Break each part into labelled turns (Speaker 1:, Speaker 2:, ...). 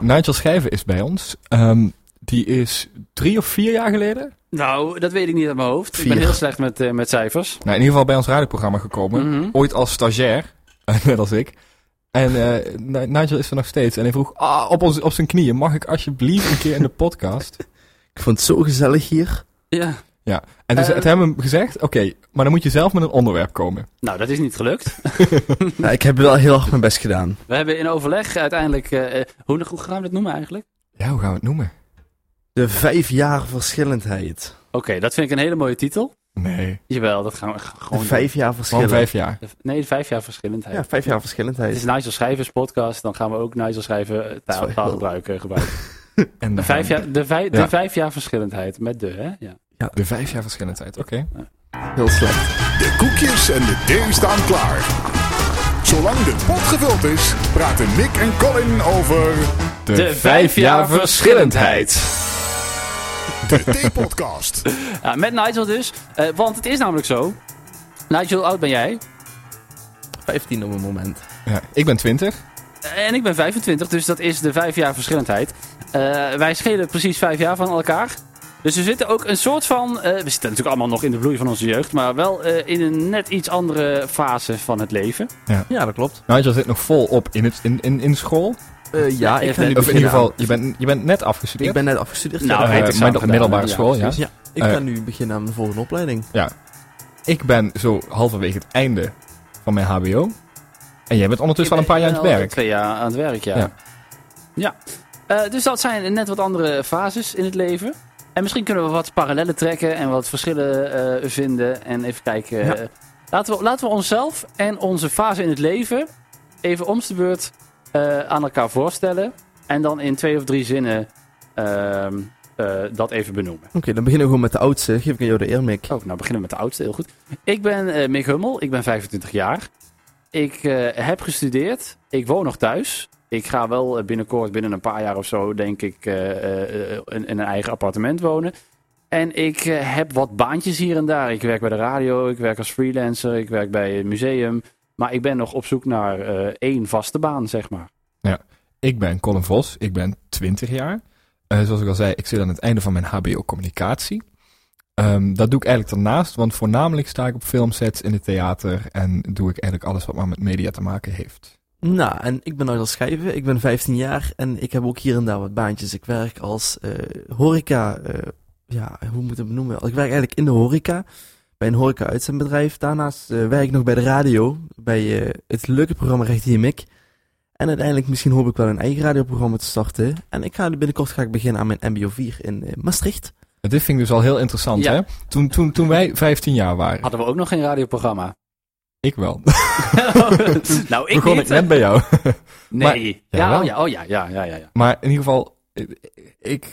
Speaker 1: Nigel Schijven is bij ons. Ehm, die is drie of vier jaar geleden...
Speaker 2: Nou, dat weet ik niet uit mijn hoofd. Ik ben
Speaker 1: Vier.
Speaker 2: heel slecht met, eh, met cijfers.
Speaker 1: Nou, in ieder geval bij ons radioprogramma gekomen.
Speaker 2: Mhm.
Speaker 1: ooit als stagiair, net als ik. En eh, Ni- Nigel is er nog steeds. En hij vroeg ah, op, ons, op zijn knieën, mag ik alsjeblieft een keer in de podcast?
Speaker 3: Ik vond het zo gezellig hier.
Speaker 2: Ja.
Speaker 1: En dus,
Speaker 2: Eh.
Speaker 1: het hebben we hem gezegd, oké, maar dan moet je zelf met een onderwerp komen.
Speaker 2: Nou, dat is niet gelukt.
Speaker 3: Nou, ik heb wel heel hard mijn best gedaan.
Speaker 2: We hebben in overleg uiteindelijk... eh, eh, hoe, hoe gaan we dat noemen eigenlijk?
Speaker 1: Ja, hoe gaan we het noemen?
Speaker 3: De vijf jaar verschillendheid.
Speaker 2: Oké, dat vind ik een hele mooie titel.
Speaker 1: Nee,
Speaker 2: Jawel, dat gaan we g-
Speaker 3: De
Speaker 2: gewoon...
Speaker 3: vijf jaar
Speaker 1: gewoon
Speaker 3: verschillendheid.
Speaker 1: vijf jaar.
Speaker 2: doen. De- Nee, vijf jaar verschillendheid.
Speaker 3: Ja, vijf jaar
Speaker 2: Het
Speaker 3: verschillendheid.
Speaker 2: is Nigel Schrijvers podcast. Dan gaan we ook Nigel Schrijven eh,
Speaker 3: Sorry,
Speaker 2: taal,
Speaker 3: wel.
Speaker 2: taalgebruik eh, gebruiken.
Speaker 1: En
Speaker 2: De
Speaker 1: dan-
Speaker 2: vijf jaar, de vijf,
Speaker 1: Ja.
Speaker 2: de vijf jaar verschillendheid. Met de, hè? Ja.
Speaker 1: De vijf jaar verschillendheid, oké.
Speaker 3: Heel slecht.
Speaker 4: De koekjes en de thee staan klaar. Zolang de pot gevuld is, praten Nick en Colin over
Speaker 1: De,
Speaker 2: vijf jaar
Speaker 4: de Theepodcast.
Speaker 2: Ja, met Nigel dus. eh, want het is namelijk zo. Nigel, hoe oud ben jij?
Speaker 3: Vijftien op het moment.
Speaker 1: Ja, ik ben twintig.
Speaker 2: Eh, En ik ben 25, dus dat is de vijf jaar verschillendheid. Eh, wij schelen precies vijf jaar van elkaar. Dus we zitten ook een soort van. eh, we zitten natuurlijk allemaal nog in de bloei van onze jeugd. Maar wel eh, in een net iets andere fase van het leven.
Speaker 3: Ja, dat klopt.
Speaker 1: Nigel zit nog volop in, het, in, in, in school.
Speaker 3: Eh, ja, ik ga
Speaker 2: Of
Speaker 3: nu
Speaker 1: Of in
Speaker 3: beginnen
Speaker 1: ieder
Speaker 3: aan-
Speaker 1: geval, je bent, je bent net
Speaker 3: Ik
Speaker 1: afgestudeerd.
Speaker 3: ben net afgestudeerd.
Speaker 2: Nou,
Speaker 3: ja.
Speaker 1: Eh,
Speaker 2: hij heeft
Speaker 1: midde-
Speaker 2: examen gedaan,
Speaker 1: middelbare
Speaker 2: ja,
Speaker 1: school, ja.
Speaker 2: precies.
Speaker 3: Ja, ik
Speaker 1: Eh.
Speaker 3: ga nu beginnen aan mijn volgende opleiding.
Speaker 1: Ik ben zo halverwege het einde van mijn HBO. En jij bent ondertussen al een paar jaar aan het
Speaker 2: Ik ben al
Speaker 1: werk.
Speaker 2: Twee jaar aan het werk, ja.
Speaker 1: Ja.
Speaker 2: Ja. Eh, dus dat zijn net wat andere fases in het leven. En misschien kunnen we wat parallellen trekken en wat verschillen eh, vinden. En even kijken.
Speaker 3: Ja.
Speaker 2: eh, laten, we, laten we onszelf en onze fase in het leven even om de beurt eh, aan elkaar voorstellen. En dan in twee of drie zinnen ehm, eh, dat even benoemen.
Speaker 3: Oké, dan beginnen we gewoon met de oudste. Geef ik aan jou de eer, Mick.
Speaker 2: Oh, nou beginnen we met de oudste, heel goed. Ik ben eh, Mick Hummel, ik ben 25 jaar. Ik eh, heb gestudeerd, ik woon nog thuis. Ik ga wel eh, binnenkort, binnen een paar jaar of zo, denk ik, eh, eh, eh, in, in een eigen appartement wonen. En ik eh, heb wat baantjes hier en daar. Ik werk bij de radio, ik werk als freelancer, ik werk bij een museum. Maar ik ben nog op zoek naar eh, één vaste baan, zeg maar.
Speaker 1: Ik ben Colin Vos, ik ben 20 jaar. Eh, zoals ik al zei, ik zit aan het einde van mijn HBO communicatie. Ehm, dat doe ik eigenlijk daarnaast, want voornamelijk sta ik op filmsets in het theater en doe ik eigenlijk alles wat maar met media te maken heeft.
Speaker 3: Nou, en ik ben Nigel Schijven, ik ben 15 jaar en ik heb ook hier en daar wat baantjes. Ik werk als eh, horeca, eh, ja, hoe moet ik het benoemen? Ik werk eigenlijk in de horeca, bij een horeca-uitzendbedrijf. Daarnaast eh, werk ik nog bij de radio, bij eh, het leuke programma Recht hier Mick. En uiteindelijk misschien hoop ik wel een eigen radioprogramma te starten. En ik ga binnenkort ga ik beginnen aan mijn mbo 4 in eh, Maastricht.
Speaker 1: En Dit vind ik dus al heel interessant,
Speaker 2: Ja.
Speaker 1: hè? Toen, toen, toen wij 15 jaar waren.
Speaker 2: Hadden we ook nog geen radioprogramma?
Speaker 1: Ik wel.
Speaker 2: nou, ik
Speaker 1: Begon
Speaker 2: niet.
Speaker 1: ik net bij jou.
Speaker 2: Nee.
Speaker 1: Maar-
Speaker 2: ja,
Speaker 1: Jawel.
Speaker 2: oh ja, oh ja, ja, ja, ja. ja.
Speaker 1: Maar in ieder geval, eh, ik,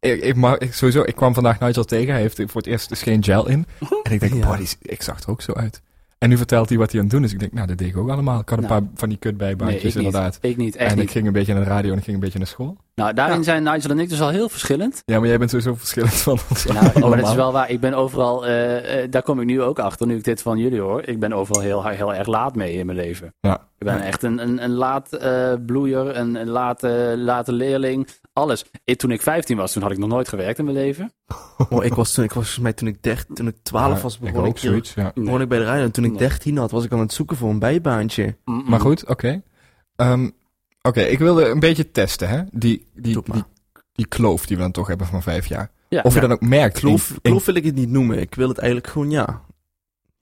Speaker 1: ik, ik, maar ik- sowieso, ik kwam vandaag Nigel tegen. Hij heeft voor het eerst dus geen gel in. En ik denk,
Speaker 3: Ja.
Speaker 1: boah, die, is- ik zag er ook zo uit. En nu vertelt hij wat hij aan het doen is. Ik denk, nou, dat deed ik ook allemaal. Ik had een
Speaker 2: Nou.
Speaker 1: paar van die
Speaker 2: Nee, ik
Speaker 1: kutbijbaantjes
Speaker 2: niet.
Speaker 1: inderdaad.
Speaker 2: Ik niet, echt
Speaker 1: En
Speaker 2: niet.
Speaker 1: ik ging een beetje naar de radio en ik ging een beetje naar school.
Speaker 2: Nou, daarin
Speaker 3: Ja.
Speaker 2: zijn Nigel en ik dus al heel verschillend.
Speaker 1: Ja, maar jij bent sowieso verschillend van ons.
Speaker 2: Nou, oh, maar dat
Speaker 1: allemaal.
Speaker 2: is wel waar. Ik ben overal, eh, eh, daar kom ik nu ook achter, nu ik dit van jullie hoor. Ik ben overal heel, heel erg laat mee in mijn leven.
Speaker 1: Ja.
Speaker 2: Ik ben echt een, een, een laat eh, bloeier, een, een laat, eh, late leerling, alles. Ik- toen ik 15 was, toen had ik nog nooit gewerkt in mijn leven.
Speaker 3: Oh, ik was toen, ik was volgens mij toen ik 13, toen ik 12
Speaker 1: Ja,
Speaker 3: was
Speaker 1: ik
Speaker 3: begon ik,
Speaker 1: ook
Speaker 3: hier-
Speaker 1: zoiets, ja.
Speaker 3: begon ik bij de radio. En toen ik
Speaker 2: Nee.
Speaker 3: 13 had, was ik al aan het zoeken voor een bijbaantje.
Speaker 2: Mm-mm.
Speaker 1: Maar goed, oké. Ehm, oké, ik wilde een beetje testen, hè. Die, die,
Speaker 3: Doe maar.
Speaker 1: die, die kloof die we dan toch hebben van vijf jaar.
Speaker 2: Ja.
Speaker 1: of je
Speaker 3: Ja.
Speaker 1: dan ook merkt. in-
Speaker 3: Kloof,
Speaker 1: in-
Speaker 3: kloof wil ik het niet noemen. Ik wil het eigenlijk gewoon, ja.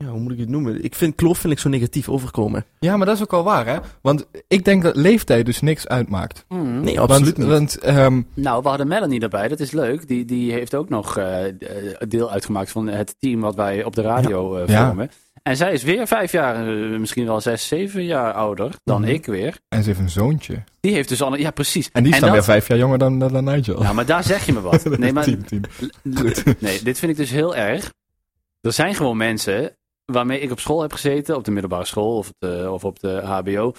Speaker 3: Ja, hoe moet ik het noemen? Ik vind kloof vind ik zo negatief overkomen.
Speaker 1: Ja, maar dat is ook wel waar, hè. Want ik denk dat leeftijd dus niks uitmaakt.
Speaker 2: Mm.
Speaker 3: Nee, absoluut
Speaker 1: want,
Speaker 3: niet.
Speaker 1: Want, ehm,
Speaker 2: Nou, we hadden Melanie erbij, dat is leuk. Die, die heeft ook nog eh, eh, deel uitgemaakt van het team wat wij op de radio eh,
Speaker 1: Ja.
Speaker 2: vormen. En zij is weer vijf jaar, eh, misschien wel zes, zeven jaar ouder dan
Speaker 1: Mhm.
Speaker 2: ik weer.
Speaker 1: en ze heeft een zoontje.
Speaker 2: Die heeft dus al een, ja precies.
Speaker 1: En die is dan
Speaker 2: dat-
Speaker 1: weer vijf jaar jonger dan, dan, dan Nigel.
Speaker 2: Nou, maar daar zeg je me wat. Nee, maar,
Speaker 1: Tien, tien.
Speaker 2: nee, dit vind ik dus heel erg. Er zijn gewoon mensen waarmee ik op school heb gezeten, op de middelbare school of, op de- of op de HBO,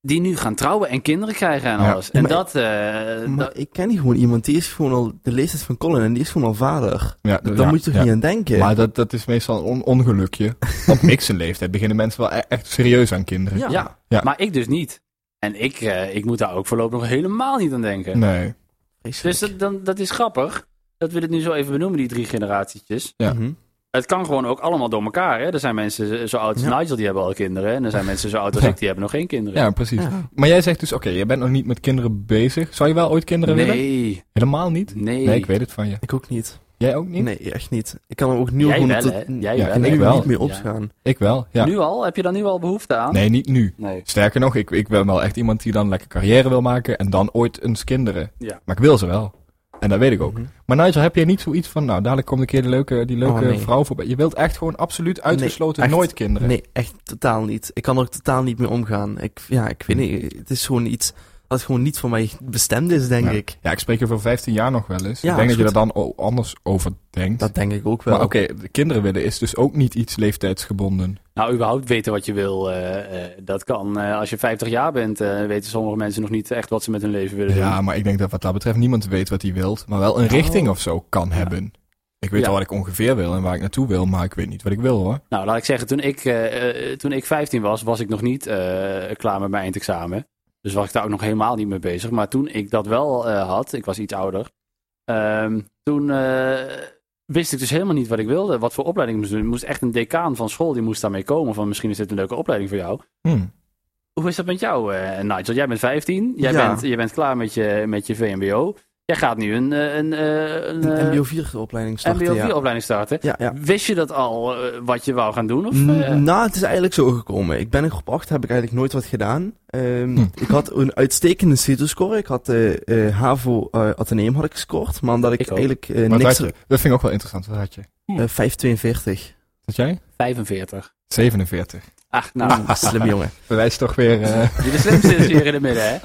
Speaker 2: die nu gaan trouwen en kinderen krijgen en
Speaker 1: Ja.
Speaker 2: alles. En
Speaker 3: Maar-
Speaker 2: dat, eh, dat-
Speaker 3: Maar ik ken hier gewoon iemand, die is gewoon al de leeftijd van Colin en die is gewoon al vader.
Speaker 1: Ja,
Speaker 3: Daar
Speaker 1: ja,
Speaker 3: moet je toch
Speaker 1: ja.
Speaker 3: niet aan denken?
Speaker 1: Maar dat, dat is meestal een on- ongelukje. Op niks in leeftijd beginnen mensen wel e- echt serieus aan kinderen.
Speaker 2: ja.
Speaker 1: Ja.
Speaker 2: maar ik dus niet. En ik, eh, ik moet daar ook voorlopig nog helemaal niet aan denken.
Speaker 1: Nee.
Speaker 2: Dus
Speaker 3: Vreselijk.
Speaker 2: dat, dan, dat is grappig dat we dit nu zo even benoemen, die drie generatietjes.
Speaker 1: ja.
Speaker 3: Mhm.
Speaker 2: Het kan gewoon ook allemaal door elkaar. Hè? Er zijn mensen zo oud als
Speaker 3: Ja.
Speaker 2: Nigel, die hebben al kinderen. En er zijn mensen zo oud als ik, die hebben nog geen kinderen.
Speaker 1: Ja, precies.
Speaker 3: Ja.
Speaker 1: Maar jij zegt dus, oké, je bent nog niet met kinderen bezig. Zou je wel ooit kinderen willen?
Speaker 2: nee,
Speaker 1: Helemaal niet?
Speaker 2: nee.
Speaker 1: Nee, ik weet het van je.
Speaker 3: Ik ook niet.
Speaker 1: Jij ook niet?
Speaker 3: Nee, echt niet. Ik kan er ook nu
Speaker 2: Jij
Speaker 3: gewoon
Speaker 2: wel,
Speaker 3: tot-
Speaker 2: hè? Jij
Speaker 1: Ja,
Speaker 2: wel.
Speaker 1: ik
Speaker 3: nu
Speaker 1: wel.
Speaker 3: niet meer
Speaker 2: Ja.
Speaker 3: opgaan.
Speaker 1: Ik wel, ja.
Speaker 2: Nu al? Heb je daar nu al behoefte aan?
Speaker 1: Nee, niet nu.
Speaker 2: Nee.
Speaker 1: Sterker nog, ik, ik ben wel echt iemand die dan lekker carrière wil maken en dan ooit eens kinderen.
Speaker 2: Ja.
Speaker 1: Maar ik wil ze wel. En dat weet ik ook.
Speaker 3: Mhm.
Speaker 1: Maar Nigel, heb jij niet zoiets van, nou, dadelijk komt een keer de leuke, die leuke
Speaker 3: Oh, nee.
Speaker 1: vrouw voorbij. Je wilt echt gewoon absoluut uitgesloten
Speaker 3: echt.
Speaker 1: nooit kinderen.
Speaker 3: Nee, echt totaal niet. Ik kan er ook totaal niet mee omgaan. Ik, ja, ik weet niet. Het is gewoon iets dat gewoon niet voor mij bestemd is, denk
Speaker 1: Ja.
Speaker 3: ik.
Speaker 1: Ja, ik spreek over 15 jaar nog wel eens.
Speaker 3: Ja,
Speaker 1: ik denk dat je
Speaker 3: is
Speaker 1: er dan o- anders over denkt.
Speaker 3: Dat denk ik ook wel.
Speaker 1: maar oké, de kinderen willen is dus ook niet iets leeftijdsgebonden.
Speaker 2: Nou, überhaupt weten wat je wil, eh, eh, dat kan. eh, als je 50 jaar bent, eh, weten sommige mensen nog niet echt wat ze met hun leven willen
Speaker 1: Ja,
Speaker 2: doen.
Speaker 1: maar ik denk dat wat dat betreft niemand weet wat hij wilt, maar wel een
Speaker 3: Oh.
Speaker 1: richting of zo kan hebben. Ik weet
Speaker 2: Ja.
Speaker 1: wel wat ik ongeveer wil en waar ik naartoe wil, maar ik weet niet wat ik wil hoor.
Speaker 2: Nou, laat ik zeggen, toen ik, eh, eh, toen ik 15 was, was ik nog niet eh, klaar met mijn eindexamen. Dus was ik daar ook nog helemaal niet mee bezig. Maar toen ik dat wel eh, had, ik was iets ouder, ehm, toen eh, wist ik dus helemaal niet wat ik wilde. Wat voor opleiding ik moest doen. Er moest echt een decaan van school, die moest daarmee komen. Van misschien is dit een leuke opleiding voor jou.
Speaker 1: Hm.
Speaker 2: Hoe is dat met jou, eh, Nigel? Jij bent 15, jij,
Speaker 3: Ja.
Speaker 2: bent, je bent klaar met je, met je VMBO. Jij gaat nu een, eh, een, eh, een,
Speaker 3: een
Speaker 2: eh,
Speaker 3: MBO 4 opleiding starten.
Speaker 2: MBO
Speaker 3: ja.
Speaker 2: 4 opleiding starten.
Speaker 3: Ja, ja.
Speaker 2: Wist je dat al, eh, wat je wou gaan doen? Of, eh,
Speaker 3: N- Nou, het is eigenlijk zo gekomen. Ik ben in groep 8, heb ik eigenlijk nooit wat gedaan. Ehm,
Speaker 1: Hm.
Speaker 3: Ik had een uitstekende CITO-score. Ik had eh, eh, HAVO eh Atheneum had ik gescoord, maar omdat ik,
Speaker 2: Ik ook.
Speaker 3: eigenlijk eh,
Speaker 1: Wat had
Speaker 3: niks...
Speaker 1: je? Dat vind ik ook wel interessant. Wat had je?
Speaker 3: eh, 5,42.
Speaker 1: Wat jij?
Speaker 2: 45.
Speaker 1: 47.
Speaker 2: Ach, nou,
Speaker 3: Slim jongen.
Speaker 1: Bewijs toch weer. eh,
Speaker 2: die de slimste is hier in het midden, hè?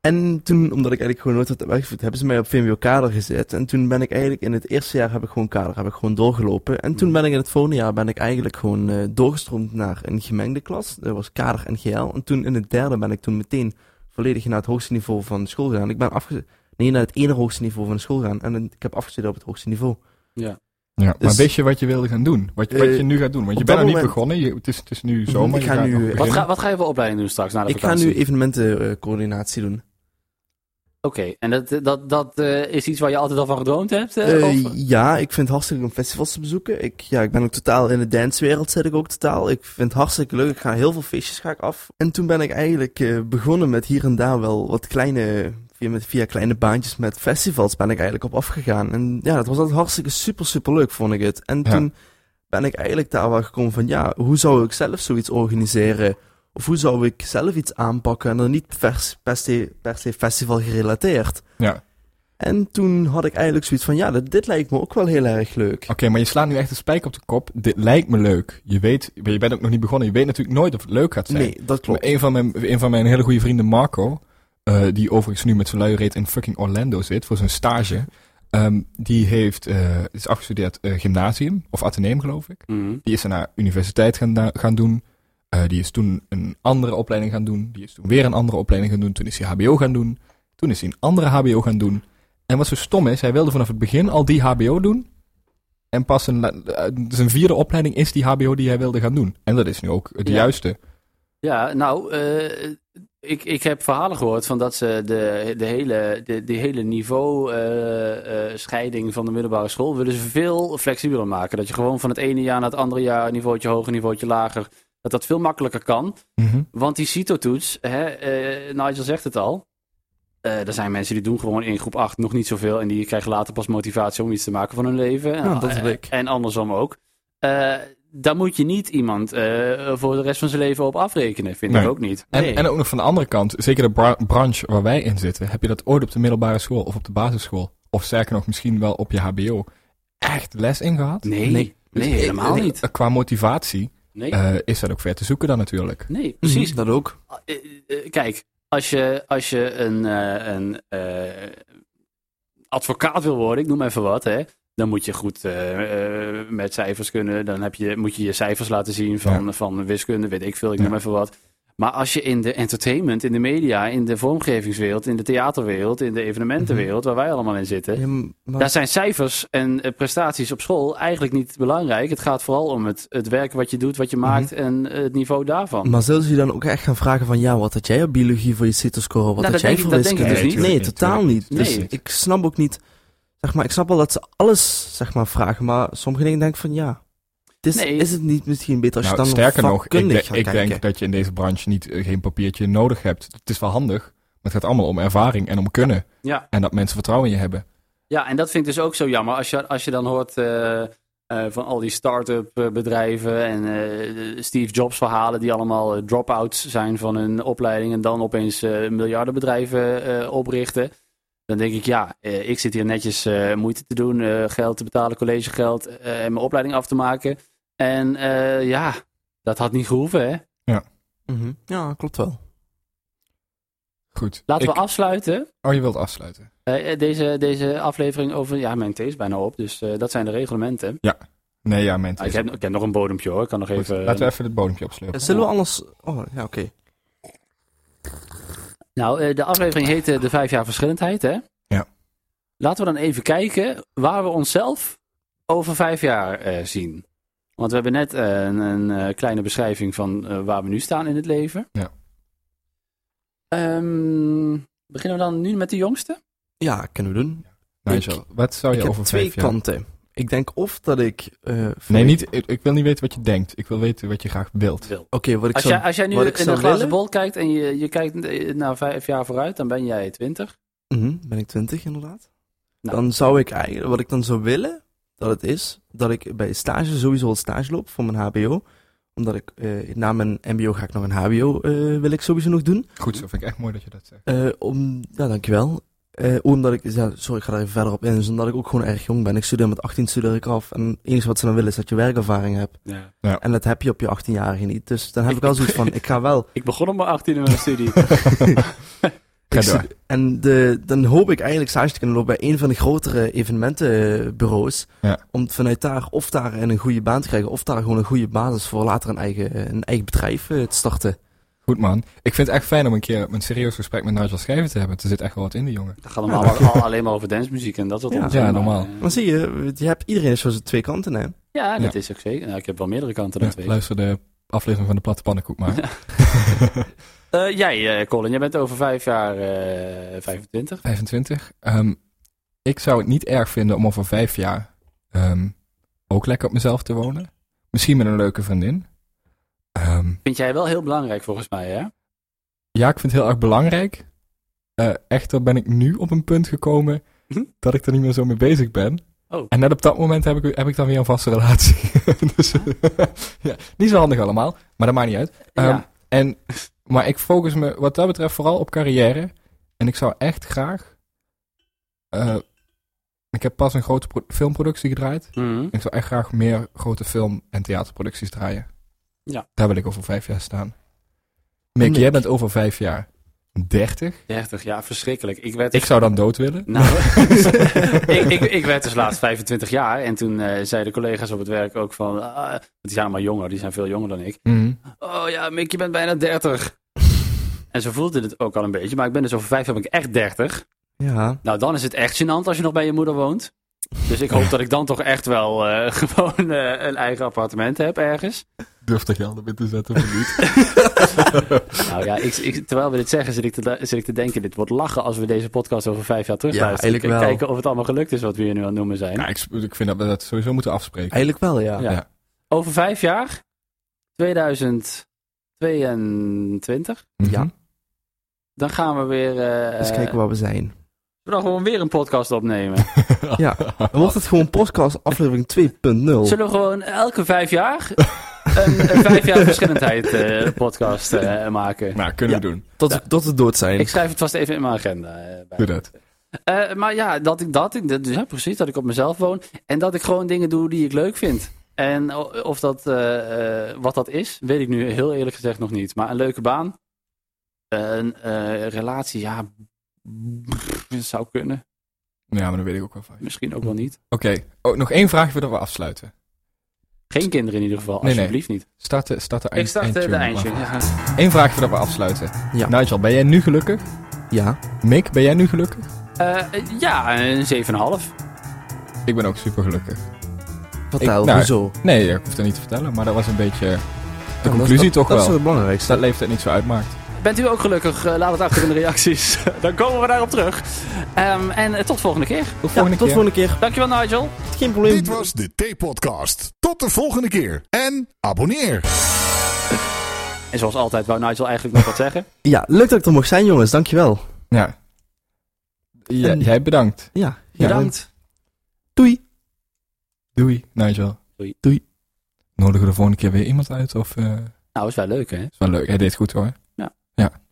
Speaker 3: En toen, omdat ik eigenlijk gewoon nooit had uitgevoerd, hebben ze mij op VMBO kader gezet. En toen ben ik eigenlijk in het eerste jaar heb ik gewoon kader, heb ik gewoon doorgelopen. En
Speaker 2: Mm.
Speaker 3: toen ben ik in het volgende jaar ben ik eigenlijk gewoon eh, doorgestroomd naar een gemengde klas. Dat was kader en GL. En toen in het derde ben ik toen meteen volledig naar het hoogste niveau van de school gegaan. Ik ben afge... Nee, naar het ene hoogste niveau van de school gegaan. En ik heb afgestudeerd op het hoogste niveau.
Speaker 1: ja, maar
Speaker 3: Dus-
Speaker 1: wist je wat je wilde gaan doen? Wat, wat
Speaker 3: Eh,
Speaker 1: je nu gaat doen? Want je
Speaker 3: op
Speaker 1: bent nog
Speaker 3: dat
Speaker 1: niet
Speaker 3: moment-
Speaker 1: begonnen. Je, het, is, het is nu zomer.
Speaker 3: Ik
Speaker 1: je
Speaker 3: ga
Speaker 1: gaat
Speaker 3: nu,
Speaker 1: nog
Speaker 3: eh,
Speaker 2: Wat
Speaker 1: beginnen.
Speaker 2: ga, wat ga je voor opleiding doen straks na de
Speaker 3: Ik ga
Speaker 2: vakantie?
Speaker 3: nu evenementencoördinatie doen.
Speaker 2: Oké, en dat, dat, dat eh, is iets waar je altijd al van gedroomd hebt? eh,
Speaker 3: Eh,
Speaker 2: of-
Speaker 3: ja, ik vind het hartstikke leuk om festivals te bezoeken. Ik, ja, ik ben ook totaal in de dancewereld, zit ik ook totaal. Ik vind het hartstikke leuk. Ik ga heel veel feestjes ga ik af. En toen ben ik eigenlijk eh, begonnen met hier en daar wel wat kleine... Via, met- via kleine baantjes met festivals ben ik eigenlijk op afgegaan. En ja, dat was altijd hartstikke super, super leuk, vond ik het. En
Speaker 1: Ja.
Speaker 3: toen ben ik eigenlijk daar wel gekomen van... Ja, hoe zou ik zelf zoiets organiseren? Of hoe zou ik zelf iets aanpakken? En dan niet vers- per se, per se festival gerelateerd.
Speaker 1: Ja.
Speaker 3: En toen had ik eigenlijk zoiets van, ja, dit, dit lijkt me ook wel heel erg leuk.
Speaker 1: Oké, maar je slaat nu echt een spijk op de kop. Dit lijkt me leuk. Je weet, je bent ook nog niet begonnen. Je weet natuurlijk nooit of het leuk gaat zijn.
Speaker 3: Nee, dat klopt.
Speaker 1: Een van mijn, een van mijn hele goede vrienden, Marco, eh, die overigens nu met zijn luie reet in fucking Orlando zit voor zijn stage. ehm, die heeft, eh, is afgestudeerd eh, gymnasium, of ateneum geloof ik.
Speaker 2: Mhm.
Speaker 1: Die is daarna universiteit gaan, da- gaan doen. Eh, die is toen een andere opleiding gaan doen. Die is toen weer een andere opleiding gaan doen. Toen is hij HBO gaan doen. Toen is hij een andere HBO gaan doen. En wat zo stom is, hij wilde vanaf het begin al die HBO doen. En pas zijn, la- eh, zijn vierde opleiding is die HBO die hij wilde gaan doen. En dat is nu ook het
Speaker 2: Ja.
Speaker 1: juiste.
Speaker 2: Ja, nou, eh, ik, ik heb verhalen gehoord van dat ze de, de hele, de, die hele niveau-scheiding van de middelbare school willen ze veel flexibeler maken. Dat je gewoon van het ene jaar naar het andere jaar, een niveautje hoger, een niveautje lager, dat dat veel makkelijker kan.
Speaker 1: Mhm.
Speaker 2: Want die CITO-toets, hè, eh, Nigel zegt het al, Eh er zijn mensen die doen gewoon in groep 8 nog niet zoveel en die krijgen later pas motivatie om iets te maken van hun leven.
Speaker 3: Nou, dat is
Speaker 2: Eh,
Speaker 3: leuk.
Speaker 2: En andersom ook. Eh, daar moet je niet iemand eh, voor de rest van zijn leven op afrekenen, vind
Speaker 1: Nee.
Speaker 2: ik ook niet.
Speaker 1: En,
Speaker 2: Nee.
Speaker 1: en ook nog van de andere kant, zeker de bra- branche waar wij in zitten, heb je dat ooit op de middelbare school of op de basisschool, of sterker nog misschien wel op je HBO, echt les in gehad?
Speaker 2: nee,
Speaker 3: Nee.
Speaker 2: nee,
Speaker 1: Dus ik-
Speaker 2: helemaal
Speaker 1: ik-
Speaker 2: niet.
Speaker 1: Qua motivatie
Speaker 2: Nee,
Speaker 1: eh, is dat ook ver te zoeken dan natuurlijk.
Speaker 2: nee precies.
Speaker 3: Mhm, Dat ook.
Speaker 2: Eh, eh, kijk, als je, als je een, eh, een eh, advocaat wil worden, ik noem even wat, hè, dan moet je goed eh, eh, met cijfers kunnen. Dan heb je, moet je je cijfers laten zien van, van wiskunde, weet ik veel, ik
Speaker 1: Ja.
Speaker 2: noem even wat. Maar als je in de entertainment, in de media, in de vormgevingswereld, in de theaterwereld, in de evenementenwereld, waar wij allemaal in zitten,
Speaker 3: Mhm. Ja, maar-
Speaker 2: daar zijn cijfers en eh, prestaties op school eigenlijk niet belangrijk. Het gaat vooral om het, het werk wat je doet, wat je maakt en eh, het niveau daarvan.
Speaker 3: Mhm. Maar zullen ze je dan ook echt gaan vragen van, ja, wat had jij op biologie voor je CITO-score? Wat
Speaker 2: Nou,
Speaker 3: had
Speaker 2: dat
Speaker 3: jij
Speaker 2: denk ik-
Speaker 3: voor
Speaker 2: dat denk ik
Speaker 3: wiskunde?
Speaker 2: dus niet.
Speaker 3: Nee,
Speaker 1: Tuurlijk niet,
Speaker 3: totaal
Speaker 1: tuurlijk
Speaker 3: niet.
Speaker 1: niet.
Speaker 3: Dus
Speaker 2: Nee.
Speaker 3: ik snap ook niet, zeg maar, ik snap wel dat ze alles, zeg maar, vragen, maar sommige dingen denk ik van, ja, het is,
Speaker 2: Nee.
Speaker 3: is het niet misschien beter als
Speaker 1: Nou,
Speaker 3: je dan
Speaker 1: sterker nog, ik,
Speaker 3: vakkundig
Speaker 1: de-
Speaker 3: gaat
Speaker 1: ik
Speaker 3: kijken?
Speaker 1: denk dat je in deze branche niet, eh, geen papiertje nodig hebt. Het is wel handig, maar het gaat allemaal om ervaring en om kunnen.
Speaker 2: Ja.
Speaker 1: En dat mensen vertrouwen in je hebben.
Speaker 2: Ja, en dat vind ik dus ook zo jammer. Als je, als je dan hoort eh, eh, van al die start-up eh, bedrijven en eh, Steve Jobs verhalen die allemaal eh, drop-outs zijn van hun opleiding en dan opeens eh, miljardenbedrijven eh, oprichten. Dan denk ik, ja, eh, ik zit hier netjes eh, moeite te doen, eh, geld te betalen, collegegeld eh, en mijn opleiding af te maken. En eh, ja, dat had niet gehoeven, hè?
Speaker 3: Mhm. Ja, klopt wel.
Speaker 1: Goed.
Speaker 2: Laten
Speaker 1: Ik-
Speaker 2: we afsluiten.
Speaker 1: Oh, je wilt afsluiten.
Speaker 2: eh, deze, deze aflevering over... Ja, mijn thee is bijna op, dus eh, dat zijn de reglementen.
Speaker 1: Nee, ja, mensen.
Speaker 2: Ah, ik, heb, ik heb nog een bodempje hoor. Ik kan nog
Speaker 1: Goed,
Speaker 2: even.
Speaker 1: Laten we even het bodempje opsleuren.
Speaker 3: Zullen we anders... Oh, ja, oké.
Speaker 2: Nou, eh, de aflevering heet eh, De Vijf Jaar Verschillendheid, hè?
Speaker 1: Ja.
Speaker 2: Laten we dan even kijken waar we onszelf over vijf jaar eh, zien. Want we hebben net eh, een, een eh, kleine beschrijving van eh, waar we nu staan in het leven.
Speaker 1: Ja.
Speaker 2: Ehm, beginnen we dan nu met de jongste?
Speaker 3: Ja, kunnen we doen.
Speaker 1: Nigel, Nou, wat zou je
Speaker 3: ik heb
Speaker 1: over
Speaker 3: twee
Speaker 1: vijf jaar...
Speaker 3: kanten. Ik denk of dat ik... eh, voor-
Speaker 1: Nee, niet, ik, ik wil niet weten wat je denkt. Ik wil weten wat je graag wilt.
Speaker 3: Oké, wat ik
Speaker 2: Als
Speaker 3: zou...
Speaker 2: jij, als jij nu
Speaker 3: wat
Speaker 2: in
Speaker 3: ik
Speaker 2: een
Speaker 3: zou
Speaker 2: glazen
Speaker 3: willen?
Speaker 2: bol kijkt en je, je kijkt eh, naar vijf jaar vooruit, dan ben jij twintig.
Speaker 3: Mhm, ben ik twintig inderdaad.
Speaker 2: Nou.
Speaker 3: Dan zou ik eigenlijk... Wat ik dan zou willen, dat het is... Dat ik bij stage sowieso al stage loop voor mijn hbo. Omdat ik eh, na mijn mbo ga ik nog een hbo eh, wil ik sowieso nog doen.
Speaker 1: Goed zo, vind ik echt mooi dat je dat zegt.
Speaker 3: Eh, om, ja, dankjewel. Eh, omdat ik, ja, sorry, ik ga daar even verder op in. Dus omdat ik ook gewoon erg jong ben. Ik studeer met 18 studeer ik af. En het enige wat ze dan willen is dat je werkervaring hebt.
Speaker 2: Ja.
Speaker 3: En dat heb je op je 18-jarige niet. Dus dan heb ik wel zoiets van, ik ga wel.
Speaker 2: Ik begon op mijn achttiende met mijn studie.
Speaker 1: Ga
Speaker 3: Ik
Speaker 1: door.
Speaker 3: stu- En de, dan hoop ik eigenlijk stage te kunnen lopen bij een van de grotere evenementenbureaus.
Speaker 1: Ja.
Speaker 3: Om vanuit daar of daar een goede baan te krijgen. Of daar gewoon een goede basis voor later een eigen, een eigen bedrijf eh, te starten.
Speaker 1: Goed man. Ik vind het echt fijn om een keer een serieus gesprek met Nigel Schrijver te hebben. Er zit echt wel wat in, die jongen.
Speaker 2: Dat gaat allemaal al- alleen maar over dancemuziek en dat soort
Speaker 3: Ja.
Speaker 2: onzin,
Speaker 1: Ja,
Speaker 2: maar,
Speaker 1: normaal.
Speaker 2: eh,
Speaker 3: Dan zie je, je hebt iedereen heeft zo zijn twee kanten. Hè?
Speaker 2: Ja, dat is ook zeker. Nou, ik heb wel meerdere kanten dan
Speaker 1: Ja,
Speaker 2: twee.
Speaker 1: luister de aflevering van de Platte Pannenkoek maar.
Speaker 2: Eh, jij, eh, Colin, jij bent over vijf jaar eh 25.
Speaker 1: 25. Ehm, ik zou het niet erg vinden om over vijf jaar ehm, ook lekker op mezelf te wonen. Misschien met een leuke vriendin. Ehm,
Speaker 2: Vind jij wel heel belangrijk volgens mij, hè?
Speaker 1: ja, ik vind het heel erg belangrijk. Eh, echter ben ik nu op een punt gekomen
Speaker 2: Hm?
Speaker 1: dat ik Eh, er niet meer zo mee bezig ben.
Speaker 2: Oh.
Speaker 1: En net op dat moment heb ik, heb ik dan weer een vaste relatie. dus, ja, niet zo handig allemaal, maar dat maakt niet uit. Ehm,
Speaker 2: ja.
Speaker 1: En, maar ik focus me wat dat betreft vooral op carrière. En ik zou echt graag. eh, ik heb pas een grote pro- filmproductie gedraaid.
Speaker 2: Mhm.
Speaker 1: Ik zou echt graag meer grote film- en theaterproducties draaien.
Speaker 2: Ja.
Speaker 1: Daar wil ik over vijf jaar staan. Mick,
Speaker 3: Mick.
Speaker 1: jij bent over vijf jaar 30.
Speaker 2: 30, ja, verschrikkelijk. Ik werd...
Speaker 1: Ik zou dan dood willen.
Speaker 2: Nou, ik, ik, ik werd dus laatst 25 jaar en toen eh, zeiden collega's op het werk ook van... ah, want die zijn allemaal jonger, die zijn veel jonger dan ik.
Speaker 1: Mhm.
Speaker 2: Oh ja, Mick, je bent bijna 30. En zo voelde het ook al een beetje, maar ik ben dus over vijf jaar ben ik echt 30.
Speaker 3: Ja.
Speaker 2: Nou, dan is het echt gênant als je nog bij je moeder woont. Dus ik hoop dat ik dan toch echt wel eh, gewoon eh, een eigen appartement heb ergens.
Speaker 1: Durf er geld op in te zetten of niet?
Speaker 2: Nou ja, ik, ik, terwijl we dit zeggen, zit ik, te, zit ik te denken: dit wordt lachen als we deze podcast over vijf jaar terugluisteren.
Speaker 3: Ja, eigenlijk
Speaker 2: En
Speaker 3: wel.
Speaker 2: kijken of het allemaal gelukt is wat we hier nu aan het noemen zijn.
Speaker 1: Ja, ik, sp- ik vind dat we dat sowieso moeten afspreken.
Speaker 3: Eigenlijk wel, ja.
Speaker 2: Ja.
Speaker 1: ja.
Speaker 2: Over vijf jaar, 2022,
Speaker 1: Mhm.
Speaker 3: Ja.
Speaker 2: dan gaan we weer. eh
Speaker 3: Eens Dus kijken waar we zijn.
Speaker 2: we dan gewoon weer een podcast opnemen.
Speaker 3: Ja. Dan wordt het gewoon podcast aflevering 2.0.
Speaker 2: Zullen we gewoon elke vijf jaar een, een vijf jaar verschillendheid eh, podcast eh, maken?
Speaker 1: Nou, kunnen we
Speaker 3: Ja.
Speaker 1: doen.
Speaker 3: Tot, tot het dood zijn.
Speaker 2: Ik schrijf het vast even in mijn agenda. eh, bij.
Speaker 1: Doe dat.
Speaker 2: Eh, maar ja, dat ik dat, ik, dat- ja, precies, dat ik op mezelf woon. En dat ik gewoon dingen doe die ik leuk vind. En o- of dat, eh, eh, wat dat is, weet ik nu heel eerlijk gezegd nog niet. Maar een leuke baan, een eh, relatie, ja, pff, zou kunnen.
Speaker 1: Ja, maar dat weet ik ook wel van. je.
Speaker 2: Misschien ook wel niet.
Speaker 1: Oké, oh, nog één vraag voordat we afsluiten.
Speaker 2: Geen kinderen in ieder geval,
Speaker 1: Nee, nee.
Speaker 2: alsjeblieft niet.
Speaker 1: Start de, start de
Speaker 2: Ik start eh, de eindje. Ja.
Speaker 1: Eén vraag voordat we afsluiten.
Speaker 3: Ja.
Speaker 1: Nigel, ben jij nu gelukkig?
Speaker 3: Ja.
Speaker 1: Mick, ben jij nu gelukkig?
Speaker 2: Eh, ja, een 7,5.
Speaker 1: Ik ben ook super gelukkig.
Speaker 3: Vertel,
Speaker 1: Ik- nou,
Speaker 3: hoezo?
Speaker 1: Nee, ik hoef dat niet te vertellen, maar dat was een beetje de
Speaker 3: Ja, dat-
Speaker 1: conclusie
Speaker 3: dat-
Speaker 1: toch
Speaker 3: Dat
Speaker 1: wel.
Speaker 3: is het
Speaker 1: Dus
Speaker 3: belangrijkste.
Speaker 1: dat leeftijd niet zo uitmaakt.
Speaker 2: Bent u ook gelukkig? Eh, laat het achter in de reacties. Dan komen we daarop terug. Ehm, en eh, tot volgende keer.
Speaker 1: Tot
Speaker 3: Ja,
Speaker 1: volgende
Speaker 3: tot
Speaker 1: keer.
Speaker 3: volgende keer.
Speaker 2: Dankjewel Nigel.
Speaker 3: Geen probleem.
Speaker 4: Dit was de T-podcast. Tot de volgende keer en abonneer.
Speaker 2: En zoals altijd wou Nigel eigenlijk nog wat zeggen.
Speaker 3: Ja, leuk dat ik er mocht zijn, jongens. Dankjewel.
Speaker 1: Ja. J-
Speaker 3: En-
Speaker 1: Jij bedankt.
Speaker 3: Ja,
Speaker 1: Ja.
Speaker 2: Bedankt.
Speaker 3: Doei.
Speaker 1: Doei, Nigel.
Speaker 2: Doei.
Speaker 1: Doei. Nodigen we de volgende keer weer iemand uit? Of, eh,
Speaker 2: Nou, is wel leuk hè.
Speaker 1: is wel leuk. Hij deed goed hoor.